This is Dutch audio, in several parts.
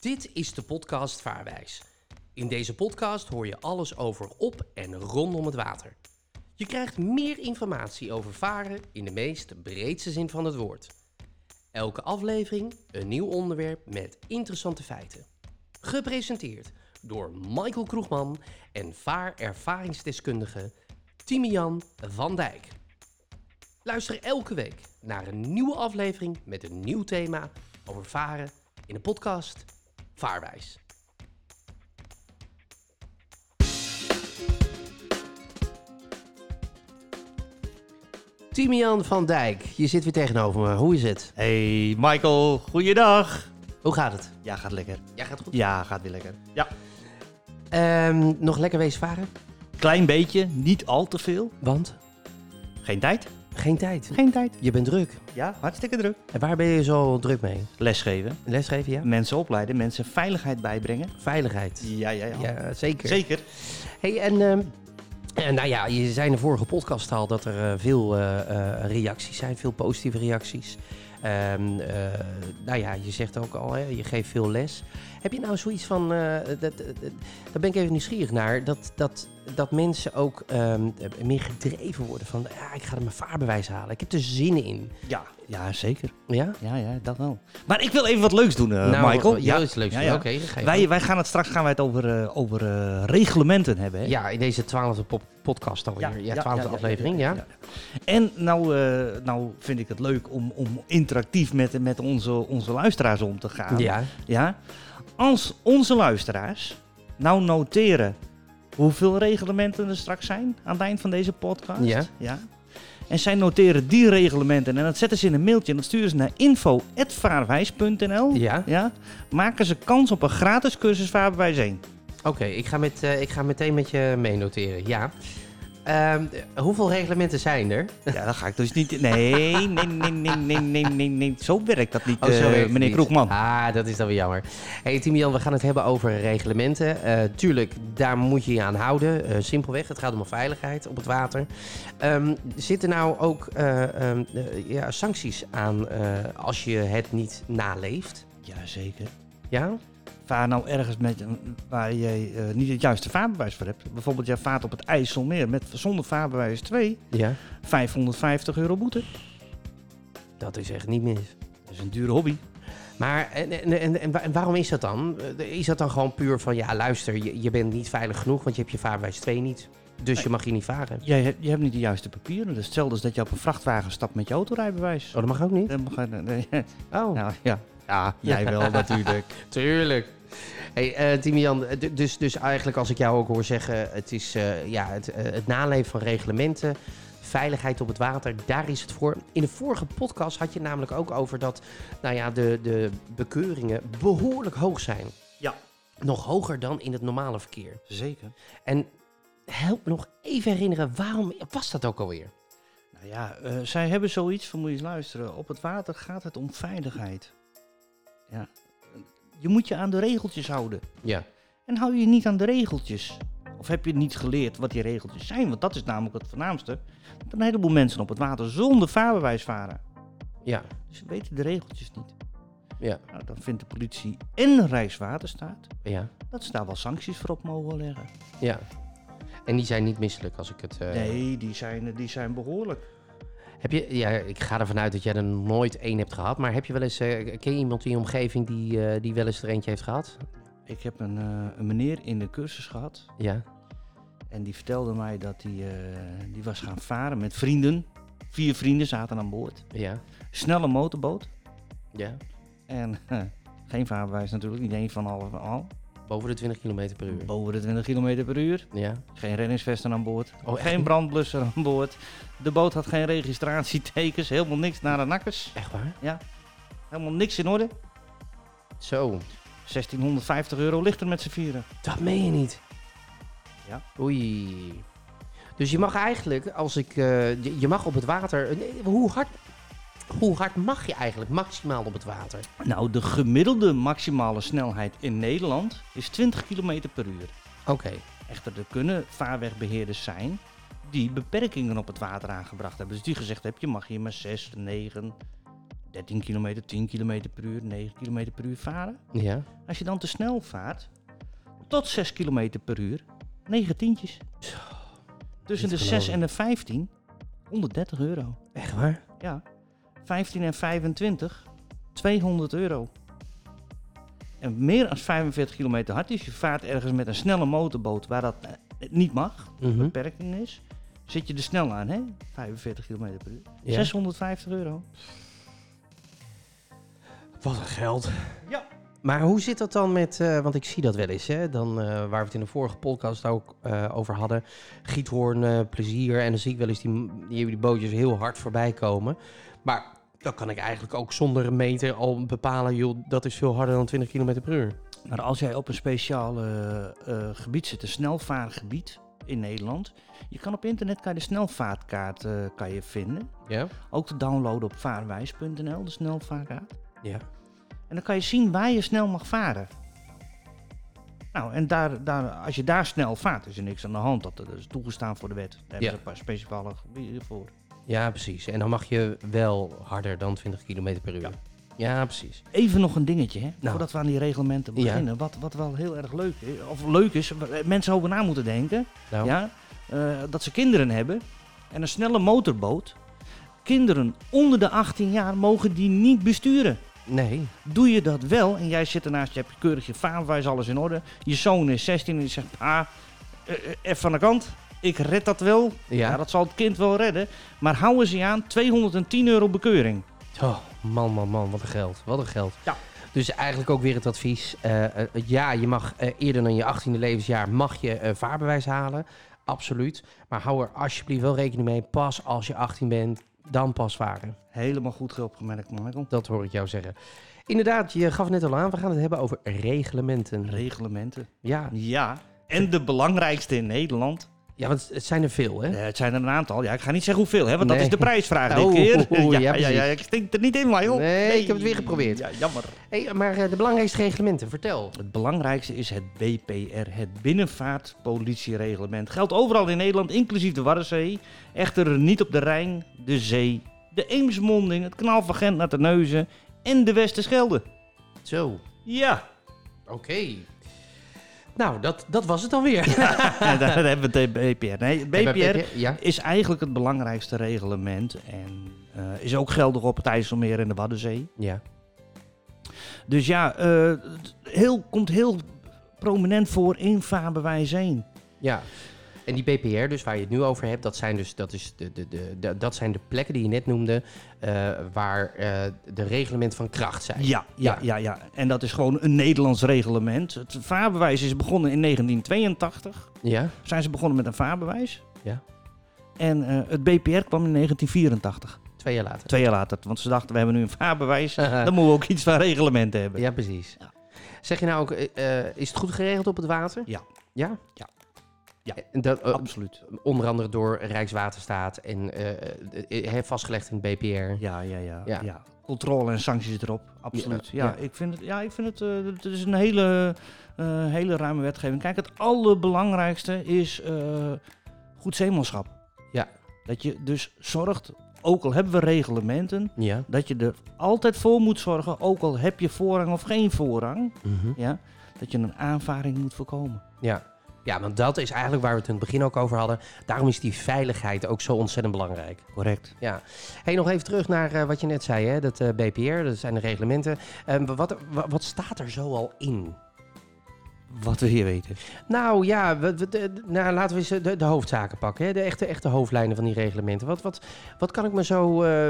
Dit is de podcast Vaarwijs. In deze podcast hoor je alles over op en rondom het water. Je krijgt meer informatie over varen in de meest breedste zin van het woord. Elke aflevering een nieuw onderwerp met interessante feiten. Gepresenteerd door Michael Kroegman en vaarervaringsdeskundige Timian van Dijk. Luister elke week naar een nieuwe aflevering met een nieuw thema over varen in de podcast Vaarwijs. Timian van Dijk, je zit weer tegenover me. Hoe is het? Hey Michael, goeiedag. Hoe gaat het? Ja, gaat lekker. Ja, gaat goed. Ja, gaat weer lekker. Ja. Ehm, nog lekker wezen varen? Klein beetje, niet al te veel. Want? Geen tijd? Geen tijd. Geen tijd. Je bent druk. Ja, hartstikke druk. En waar ben je zo druk mee? Lesgeven, Lesgeven, ja? mensen opleiden, mensen veiligheid bijbrengen. Veiligheid. Ja, ja, Ja, zeker. Zeker. Hey, en ehm, eh, nou ja, je zei in de vorige podcast al dat er eh, veel eh, eh, reacties zijn, veel positieve reacties. Ehm, eh, nou ja, je zegt ook al, hè, je geeft veel les. Heb je nou zoiets van, eh, dat, dat- daar ben ik even nieuwsgierig naar, dat, dat, dat mensen ook ehm, meer gedreven worden van, ja, ik ga er mijn vaarbewijs halen, ik heb er zin in. Ja, ja zeker. Ja? Nou, Ja, ja, dat wel. Maar ik wil even wat leuks doen, eh, Michael. Ja, dat is leuk. Ja, Oké, ja. dan ga je Wij, wij gaan het straks gaan wij het over, eh, over eh, reglementen hebben. Hè? gang. Ja, in deze twaalfde podcast alweer. Ja, twaalfde aflevering, ja. En nou, eh, nou vind ik het leuk om, om interactief met, met onze, onze luisteraars om te gaan. ja. Ja? Als onze luisteraars nou noteren hoeveel reglementen er straks zijn aan het eind van deze podcast. Ja. En zij noteren die reglementen en dat zetten ze in een mailtje en dat sturen ze naar info.vaarwijs.nl. ja. Ja? Maken ze kans op een gratis cursus Vaarbewijs 1. Oké, ik, ga met, eh, ik ga meteen met je meenoteren. Ja. Ehm, hoeveel reglementen zijn er? Ja, dat ga ik dus niet... Nee, nee, nee, nee, nee, nee, nee, nee. Zo werkt dat niet, eh, Oh, werkt het meneer niet. Kroekman. Ah, dat is dan weer jammer. hey, Timian, we gaan het hebben over reglementen. Eh, tuurlijk, daar moet je je aan houden. Eh, simpelweg, het gaat om veiligheid op het water. Ehm, zitten nou ook eh, ehm, eh, ja, sancties aan eh, als je het niet naleeft? Jazeker. Ja? Vaar nou ergens met, een- waar je eh, niet het juiste vaarbewijs voor hebt. Bijvoorbeeld, jij vaart op het IJsselmeer met, zonder vaarbewijs 2, Ja. 550 euro boete. Dat is echt niet mis. Dat is een dure hobby. Maar en, en, en, en wa- en waarom is dat dan? Eh, Is dat dan gewoon puur van, ja luister, je, je bent niet veilig genoeg, want je hebt je vaarbewijs 2 niet. Dus je mag hier niet varen. Oh, Jij, hebt- je hebt niet de juiste papieren. Dat is hetzelfde als dat je op een vrachtwagen stapt met je autorijbewijs. dat mag ook niet? Dat mag- eh, nee. Oh, Nou ja. ja, jij wel natuurlijk. tuurlijk. Hey, eh, Timian, eh, d- dus, dus eigenlijk als ik jou ook hoor zeggen, het is eh, ja, het, eh, het naleven van reglementen, veiligheid op het water, daar is het voor. In de vorige podcast had je namelijk ook over dat nou ja, de, de bekeuringen behoorlijk hoog zijn. Ja. Nog hoger dan in het normale verkeer. Zeker. En help me nog even herinneren, waarom was dat ook alweer? Nou ja, eh, zij hebben zoiets van, moet je eens luisteren. Op het water gaat het om veiligheid. Ja. Je moet je aan de regeltjes houden. Ja. En hou je je niet aan de regeltjes? Of heb je niet geleerd wat die regeltjes zijn? Want dat is namelijk het voornaamste. Dat een heleboel mensen op het water zonder vaarbewijs varen. Dus Ja. Ze weten de regeltjes niet. Ja. Nou, dan vindt de politie en Rijkswaterstaat Ja. dat ze daar wel sancties voor op mogen leggen. Ja. En die zijn niet misselijk als ik het... eh, Nee, die zijn, die zijn behoorlijk. Heb je, ja, ik ga ervan uit dat jij er nooit één hebt gehad, maar heb je wel eens, eh, ken je iemand in je omgeving die, eh, die wel eens er eentje heeft gehad? Ik heb een, eh, een meneer in de cursus gehad. Ja. En die vertelde mij dat hij eh, die was gaan varen met vrienden. Vier vrienden zaten aan boord. Ja. Snelle motorboot. Ja. En eh, geen vaarbewijs natuurlijk, niet één van alle van al. Boven de 20 km per uur. Boven de 20 km per uur. Ja. Geen reddingsvesten aan boord. Oh, echt geen niet? brandblusser aan boord. De boot had geen registratietekens. Helemaal niks naar de nakkers. Echt waar? Helemaal niks in orde. Zo. 1650 euro ligt er met z'n vieren. Dat meen je niet. Ja. Oei. Dus je mag eigenlijk, als ik, eh, je- je mag op het water, eh, nee, hoe hard, hoe hard mag je eigenlijk maximaal op het water? Nou, de gemiddelde maximale snelheid in Nederland is 20 km per uur. Oké. Echter, er kunnen vaarwegbeheerders zijn die beperkingen op het water aangebracht hebben. Dus die gezegd hebben, je mag hier maar 6, 9, 13 kilometer, 10 kilometer per uur, 9 kilometer per uur varen. Ja. Als je dan te snel vaart, tot 6 kilometer per uur, 9 tientjes. Tussen de niet 6 en geloven. de 15, 130 euro. Echt waar? Ja. 15 en 25, 200 euro. En meer dan 45 kilometer hard is. Je vaart ergens met een snelle motorboot waar dat eh, niet mag, Mhm. beperking is. Zit je er snel aan, hè? 45 kilometer per uur. Ja. 650 euro. Wat een geld. Ja. Maar hoe zit dat dan met, eh, want ik zie dat wel eens, hè, dan, eh, waar we het in de vorige podcast ook eh, over hadden. Giethoorn, eh, plezier. En dan zie ik wel eens die, die, die bootjes heel hard voorbij komen. Maar dan kan ik eigenlijk ook zonder een meter al bepalen, joh, dat is veel harder dan 20 km per uur. Maar als jij op een speciaal eh, eh, gebied zit, een snelvaargebied in Nederland. Je kan op internet kan je de snelvaartkaart eh, kan je vinden. Ja? Ook te downloaden op vaarwijs.nl, de snelvaartkaart. Ja. dus En dan kan je zien waar je snel mag varen. Nou, en daar, daar, als je daar snel vaart, is er niks aan de hand. Dat, dat is toegestaan voor de wet. Daar hebben Ja. ze een paar speciale gebieden voor. Ja, precies. En dan mag je wel harder dan 20 km per uur. Ja. ja precies. Even nog een dingetje, hè, Nou. voordat we aan die reglementen Ja. beginnen. Wat, wat wel heel erg leuk is, of leuk is, waar mensen over na moeten denken. Nou, Ja, eh, dat ze kinderen hebben en een snelle motorboot. Kinderen onder de 18 jaar mogen die niet besturen. nee. Doe je dat wel en jij zit ernaast, je hebt keurig je vaarwijs, alles in orde. Je zoon is 16 en die zegt, pa, eh, eh, even van de kant. Ik red dat wel. Ja. Ja. dat zal het kind wel redden. Maar houden ze je aan 210 euro bekeuring. Oh, man, man, man, wat een geld. Wat een geld. Ja. Dus eigenlijk ook weer het advies. eh, eh, ja, je mag eh, eerder dan je 18e levensjaar mag je eh, vaarbewijs halen. Absoluut. Maar hou er alsjeblieft wel rekening mee. Pas als je 18 bent, dan pas varen. Helemaal goed opgemerkt, Michael. Dat hoor ik jou zeggen. Inderdaad, je gaf net al aan. We gaan het hebben over reglementen. Reglementen. Ja, Ja. En de belangrijkste in Nederland. ja want het zijn er veel, hè? Eh, het zijn er een aantal. Ja, ik ga niet zeggen hoeveel, hè, want dat Nee. is de prijsvraag dit Oh, keer. oh, oh, ja, ja, ja, precies. ja, ik stink er niet in, Michael. Nee, ik heb het weer geprobeerd. Ja, jammer. Hey, maar eh, de belangrijkste reglementen, vertel. Het belangrijkste is het BPR, het binnenvaartpolitiereglement. Geldt overal in Nederland, inclusief de Waddenzee. Echter niet op de Rijn, de Zee, de Eemsmonding, het kanaal van Gent naar de Neuzen en de Westerschelde. Zo, Ja, oké. Nou, dat, dat was het dan weer. en daar hebben we het BPR. Nee, het BPR Ja, is eigenlijk het belangrijkste reglement en eh, is ook geldig op het IJsselmeer en de Waddenzee. ja. Dus ja, eh, het heel, komt heel prominent voor in vaarbewijs 1. Ja. En die BPR, dus waar je het nu over hebt, dat zijn dus dat is de, de, de, de- dat zijn de plekken die je net noemde, eh, waar eh, de reglementen van kracht zijn. Ja, ja, ja, ja. En dat is gewoon een Nederlands reglement. Het vaarbewijs is begonnen in 1982. Ja? Zijn ze begonnen met een vaarbewijs. Ja. En eh, het BPR kwam in 1984. Twee jaar later. Twee jaar later. Want ze dachten, we hebben nu een vaarbewijs. Dan moeten we ook iets van reglementen hebben. Eh. ja, precies. Ja. Zeg je nou ook, eh, eh, is het goed geregeld op het water? Ja. Ja? Ja. Ja. En dat, eh, Absoluut. onder andere door Rijkswaterstaat en eh, eh, eh, vastgelegd in het BPR. Ja, ja, ja, Ja. ja. Controle en sancties erop. Absoluut. Ja, Ja, ja. ik vind het, ja, ik vind het, eh, het is een hele, eh, hele ruime wetgeving. Kijk, het allerbelangrijkste is eh, goed zeemanschap. Ja. Dat je dus zorgt, ook al hebben we reglementen, Ja. dat je er altijd voor moet zorgen, ook al heb je voorrang of geen voorrang, Mhm. ja, dat je een aanvaring moet voorkomen. Ja. Ja, want dat is eigenlijk waar we het in het begin ook over hadden. Daarom is die veiligheid ook zo ontzettend belangrijk. Correct. Ja. Hey, nog even terug naar eh, wat je net zei, hè? dat eh, BPR, dat zijn de reglementen. Ehm, wat, wa- wat staat er zo al in? Wat we hier weten. Nou ja, we- we- de- de- nou, laten we eens eh, de, de hoofdzaken pakken, hè? De, echte, echte hoofdlijnen van die reglementen. Wat, wat, wat kan ik me zo, eh,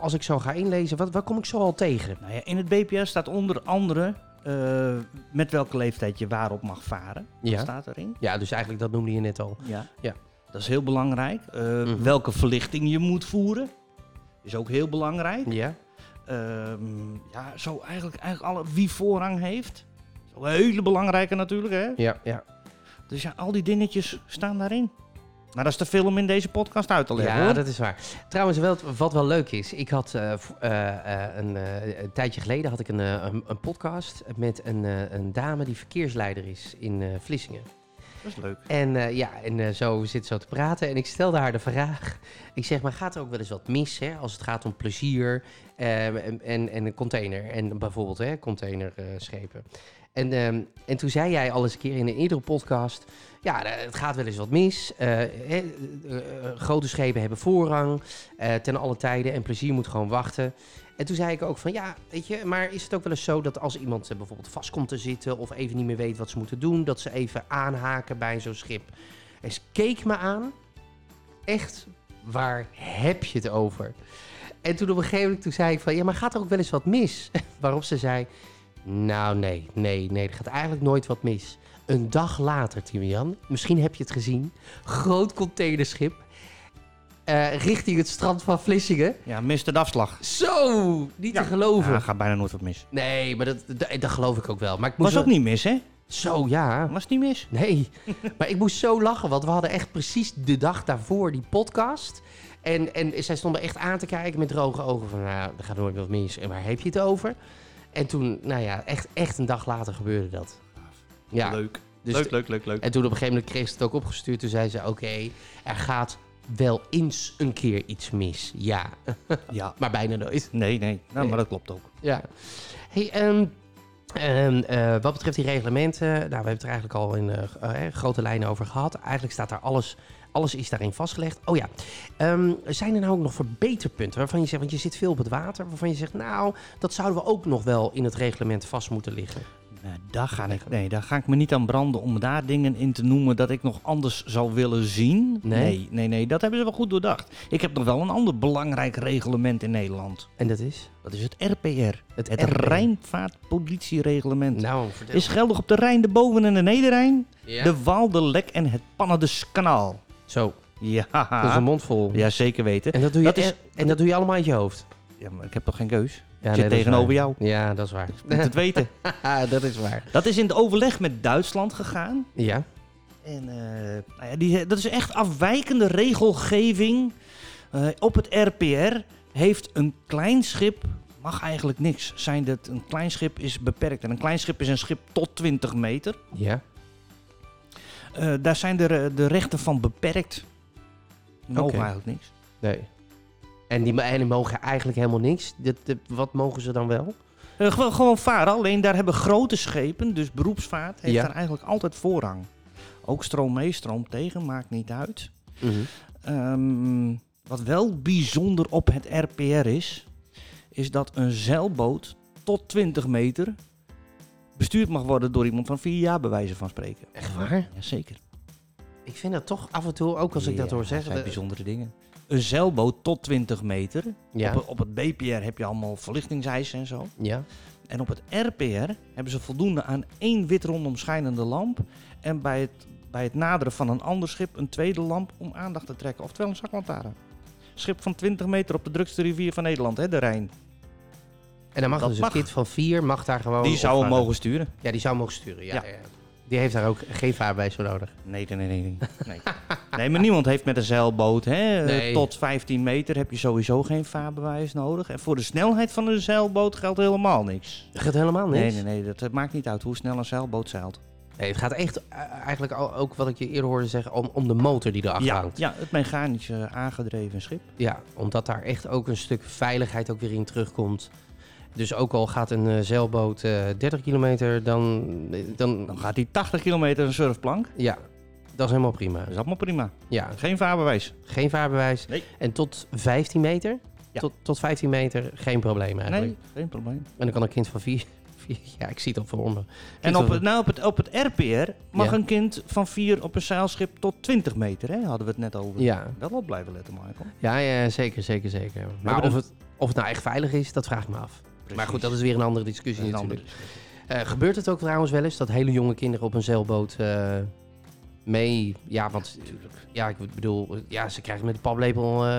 als ik zo ga inlezen, wat, wat kom ik zo al tegen? Nou ja, in het BPR staat onder andere eh, met welke leeftijd je waarop mag varen. Dat Ja. staat erin. ja, dus eigenlijk dat noemde je net al. Ja. Ja. Dat is heel belangrijk. Eh, Mhm. Welke verlichting je moet voeren. Is ook heel belangrijk. Ja, Ehm, ja, zo eigenlijk, eigenlijk alle, wie voorrang heeft. Is ook een hele belangrijke natuurlijk. Hè? ja, ja. Dus ja, al die dingetjes staan daarin. Maar dat is te veel om in deze podcast uit te leggen Ja, hoor. dat is waar. Trouwens, wel, wat wel leuk is, ik had eh, v- eh, eh, een, eh, een tijdje geleden had ik een, eh, een, een podcast met een, eh, een dame die verkeersleider is in eh, Vlissingen. Dat is leuk. En eh, ja, en eh, zo we zitten zo te praten. En ik stelde haar de vraag. Ik zeg, maar gaat er ook wel eens wat mis hè, als het gaat om plezier ehm, en, en, en een container? En bijvoorbeeld hè, containerschepen. En, ehm, en toen zei jij al eens een keer in een eerdere podcast... Ja, eh, het gaat wel eens wat mis. Eh, hè, eh, eh, grote schepen hebben voorrang eh, ten alle tijden. En plezier moet gewoon wachten. En toen zei ik ook van, ja, weet je, maar is het ook wel eens zo dat als iemand eh, bijvoorbeeld vast komt te zitten of even niet meer weet wat ze moeten doen, dat ze even aanhaken bij zo'n schip? En ze keek me aan, echt, waar heb je het over? En toen op een gegeven moment toen zei ik van, ja, maar gaat er ook wel eens wat mis? Waarop ze zei, nou nee, nee, nee, er gaat eigenlijk nooit wat mis. Een dag later, Timian, misschien heb je het gezien, groot containerschip, eh, richting het strand van Vlissingen. Ja, miste de afslag. Zo, niet Ja. te geloven. Ja, gaat bijna nooit wat mis. Nee, maar dat, dat, dat geloof ik ook wel. Maar ik moest Was ook niet mis, hè? Zo, ja. Was niet mis. Nee, maar ik moest zo lachen, want we hadden echt precies de dag daarvoor die podcast. En, en zij stond me echt aan te kijken met droge ogen van, nou, er gaat nooit wat mis. En waar heb je het over? En toen, nou ja, echt, echt een dag later gebeurde dat. Ja, Leuk. dus leuk, leuk, leuk, leuk. En toen op een gegeven moment kreeg ze het ook opgestuurd. Toen zei ze, oké, er gaat wel eens een keer iets mis. Ja, Ja. maar bijna nooit. Nee, nee. Nou, maar dat klopt ook. Ja. Hey, ehm, ehm, eh, wat betreft die reglementen, nou, we hebben het er eigenlijk al in eh, g- eh, grote lijnen over gehad. Eigenlijk staat daar alles, alles is daarin vastgelegd. Oh ja, ehm, zijn er nou ook nog verbeterpunten waarvan je zegt, want je zit veel op het water, waarvan je zegt, nou, dat zouden we ook nog wel in het reglement vast moeten liggen. Nou, daar ga ik, nee, daar ga ik me niet aan branden om daar dingen in te noemen dat ik nog anders zou willen zien. Nee? nee, nee, nee, dat hebben ze wel goed doordacht. Ik heb nog wel een ander belangrijk reglement in Nederland. En dat is? Dat is het RPR, Het het, RPR. Rijnvaartpolitiereglement. Nou, vertel. Is geldig op de Rijn, de Boven- en de Nederrijn, Ja. de Waal, de Lek en het Pannenduskanaal. Zo, Ja, dat is een mondvol. ja, zeker weten. En, dat doe je Dat is- en, en dat doe je allemaal uit je hoofd. Ja, maar ik heb toch geen keus? Ja, zit nee, dat is waar. tegenover jou. Ja, dat is waar. Ik moet het weten. dat is waar. Dat is in het overleg met Duitsland gegaan. Ja. En eh, nou ja, die, dat is echt afwijkende regelgeving. Eh, op het RPR heeft een klein schip, mag eigenlijk niks zijn. Dat een klein schip is beperkt. En een klein schip is een schip tot 20 meter. Ja. Eh, daar zijn de, re- de rechten van beperkt. Die mogen Oké. eigenlijk niks. Nee. En die, en die mogen eigenlijk helemaal niks. Dat, dat- wat mogen ze dan wel? Eh, gewoon, gewoon varen, alleen daar hebben grote schepen, dus beroepsvaart, heeft Ja. daar eigenlijk altijd voorrang. Ook stroom mee, stroom tegen, maakt niet uit. Mhm. Ehm, wat wel bijzonder op het RPR is, is dat een zeilboot tot 20 meter bestuurd mag worden door iemand van vier jaar, bij wijze van spreken. Echt waar? Jazeker. Ik vind dat toch af en toe, ook als ik dat Ja, hoor zeggen... zijn de- bijzondere dingen. Een zeilboot tot 20 meter. ja, Op, op het BPR heb je allemaal verlichtingseisen en zo. ja. En op het RPR hebben ze voldoende aan één wit rondom schijnende lamp. En bij het, bij het naderen van een ander schip een tweede lamp om aandacht te trekken. Oftewel een zaklantaarn. Schip van 20 meter op de drukste rivier van Nederland, hè, de Rijn. En dan mag Dat dus mag. een kind van vier, mag daar gewoon... Die zou hem opvaren. mogen sturen. Ja, die zou hem mogen sturen, ja. Ja. ja, ja. Die heeft daar ook geen vaarbewijs voor nodig. Nee, nee, nee, nee. Nee, nee. nee maar niemand heeft met een zeilboot. Hè, eh, Nee. Tot 15 meter heb je sowieso geen vaarbewijs nodig. En voor de snelheid van een zeilboot geldt helemaal niks. Het gaat helemaal niks. Nee, nee, nee. Dat eh, maakt niet uit hoe snel een zeilboot zeilt. Nee, het gaat echt, eh, eigenlijk al- ook wat ik je eerder hoorde zeggen, om, om de motor die erachter Ja, hangt. ja, het mechanische eh, aangedreven schip. Ja, omdat daar echt ook een stuk veiligheid ook weer in terugkomt. Dus ook al gaat een eh, zeilboot eh, 30 kilometer, dan, dan... Dan gaat hij 80 kilometer een surfplank. Ja, dat is helemaal prima. Dat is allemaal prima. Ja, Geen vaarbewijs. geen vaarbewijs. Nee. En tot 15 meter? Ja. Tot, tot 15 meter, geen probleem eigenlijk. Nee, geen probleem. En dan kan een kind van 4... Ja, ik zie het al voor me. En dat op, we- het- nou, op, het, op het RPR mag Ja. een kind van 4 op een zeilschip tot 20 meter. Hè? Hadden we het net over. Ja, Wel op blijven letten, Michael. ja, ja zeker, zeker, zeker. Maar maar of dan- het, of het nou echt veilig is, dat vraag ik me af. Maar goed, dat is weer een andere discussie een natuurlijk. ander. Eh, gebeurt het ook trouwens wel eens dat hele jonge kinderen op een zeilboot eh, mee... Ja, want ja, ik bedoel, ja, ze krijgen met de paplepel... eh,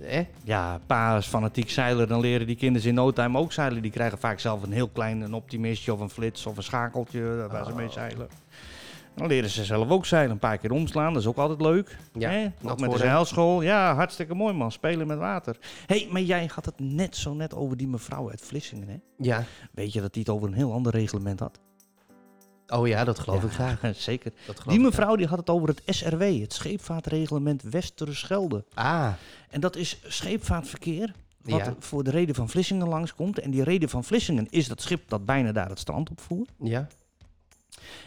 hè? Ja, pa is fanatiek zeiler. Dan leren die kinderen in no time ook zeilen. Die krijgen vaak zelf een heel klein een optimistje of een flits of een schakeltje eh, waar ze mee Oh. zeilen. Dan leren ze zelf ook zeilen. Een paar keer omslaan, dat is ook altijd leuk. Ja, Hè? nat Ook met de worden. zeilschool. Ja, hartstikke mooi man. Spelen met water. hey, maar jij had het net zo net over die mevrouw uit Vlissingen. Hè? Ja, Weet je dat die het over een heel ander reglement had? Oh ja, dat geloof ik graag. Zeker. Dat geloof Die ik mevrouw die had het over het SRW, het scheepvaartreglement Westerschelde. graag. Ah, En dat is scheepvaartverkeer, wat Ja. voor de reden van Vlissingen langskomt. En die reden van Vlissingen is dat schip dat bijna daar het strand op voert. ja.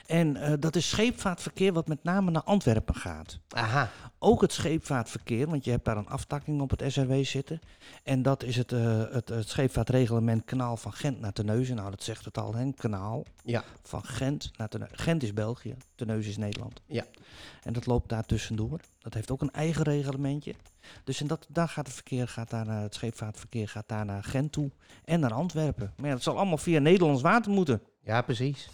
En eh, dat is scheepvaartverkeer wat met name naar Antwerpen gaat. Aha. Ook het scheepvaartverkeer, want je hebt daar een aftakking op het SRW zitten. En dat is het, eh, het, het scheepvaartreglement kanaal van Gent naar Terneuzen. Nou, dat zegt het al, hè? kanaal Ja. van Gent naar Terneuzen. Gent is België, Terneuzen is Nederland. Ja. En dat loopt daar tussendoor. Dat heeft ook een eigen reglementje. Dus en dat, daar gaat het verkeer, gaat daar naar, het scheepvaartverkeer gaat daar naar Gent toe en naar Antwerpen. Maar ja, dat zal allemaal via Nederlands water moeten. Ja, precies.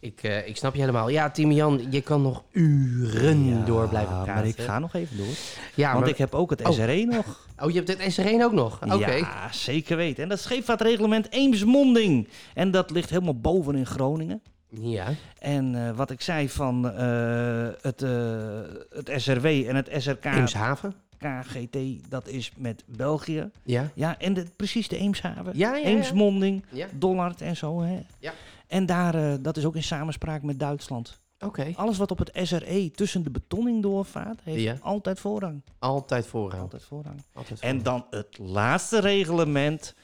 Ik, eh, ik snap je helemaal. Ja, Timian, je kan nog uren door blijven praten. Maar ik ga nog even door. Ja, want maar- ik heb ook het Oh. SRE nog. Oh, je hebt het SR1 ook nog? Oké. Ja, zeker weten. En dat scheepvaartreglement Eemsmonding. En dat ligt helemaal boven in Groningen. Ja. En eh, wat ik zei van eh, het, eh, het SRW en het SRK, Eemshaven? KGT, dat is met België. Ja. Ja, en de, precies de Eemshaven. Ja, ja, ja. Eemsmonding, Ja. Dollard en zo. Hè. Ja. En daar, eh, dat is ook in samenspraak met Duitsland. Oké. Alles wat op het SRE tussen de betonning doorvaart, heeft Ja. Oh. altijd voorrang. Altijd voorrang. Altijd voorrang. Altijd En voorrang. dan het laatste reglement,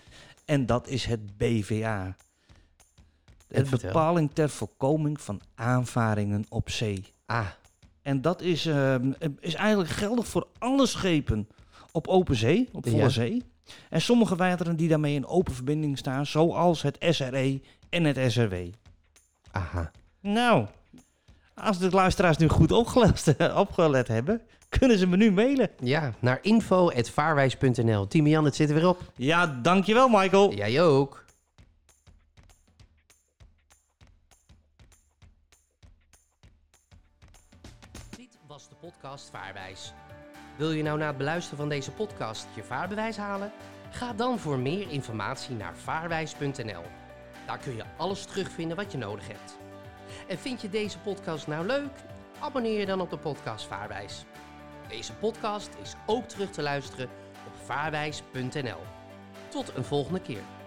en dat is het BVA. Het vertel. bepaling ter voorkoming van aanvaringen op zee. Ah, En dat is, ehm, is eigenlijk geldig voor alle schepen op open zee, op volle Ja. zee. En sommige wateren die daarmee in open verbinding staan, zoals het SRE en het SRW. aha. Nou, als de luisteraars nu goed opgelet, opgelet hebben, kunnen ze me nu mailen. Ja, naar info.vaarwijs.nl. Timian, het zit er weer op. Ja, dankjewel Michael. Jij ook. Dit was de podcast Vaarwijs. Wil je nou na het beluisteren van deze podcast je vaarbewijs halen? Ga dan voor meer informatie naar vaarwijs.nl. Daar kun je alles terugvinden wat je nodig hebt. En vind je deze podcast nou leuk? Abonneer je dan op de podcast Vaarwijs. Deze podcast is ook terug te luisteren op vaarwijs.nl. Tot een volgende keer.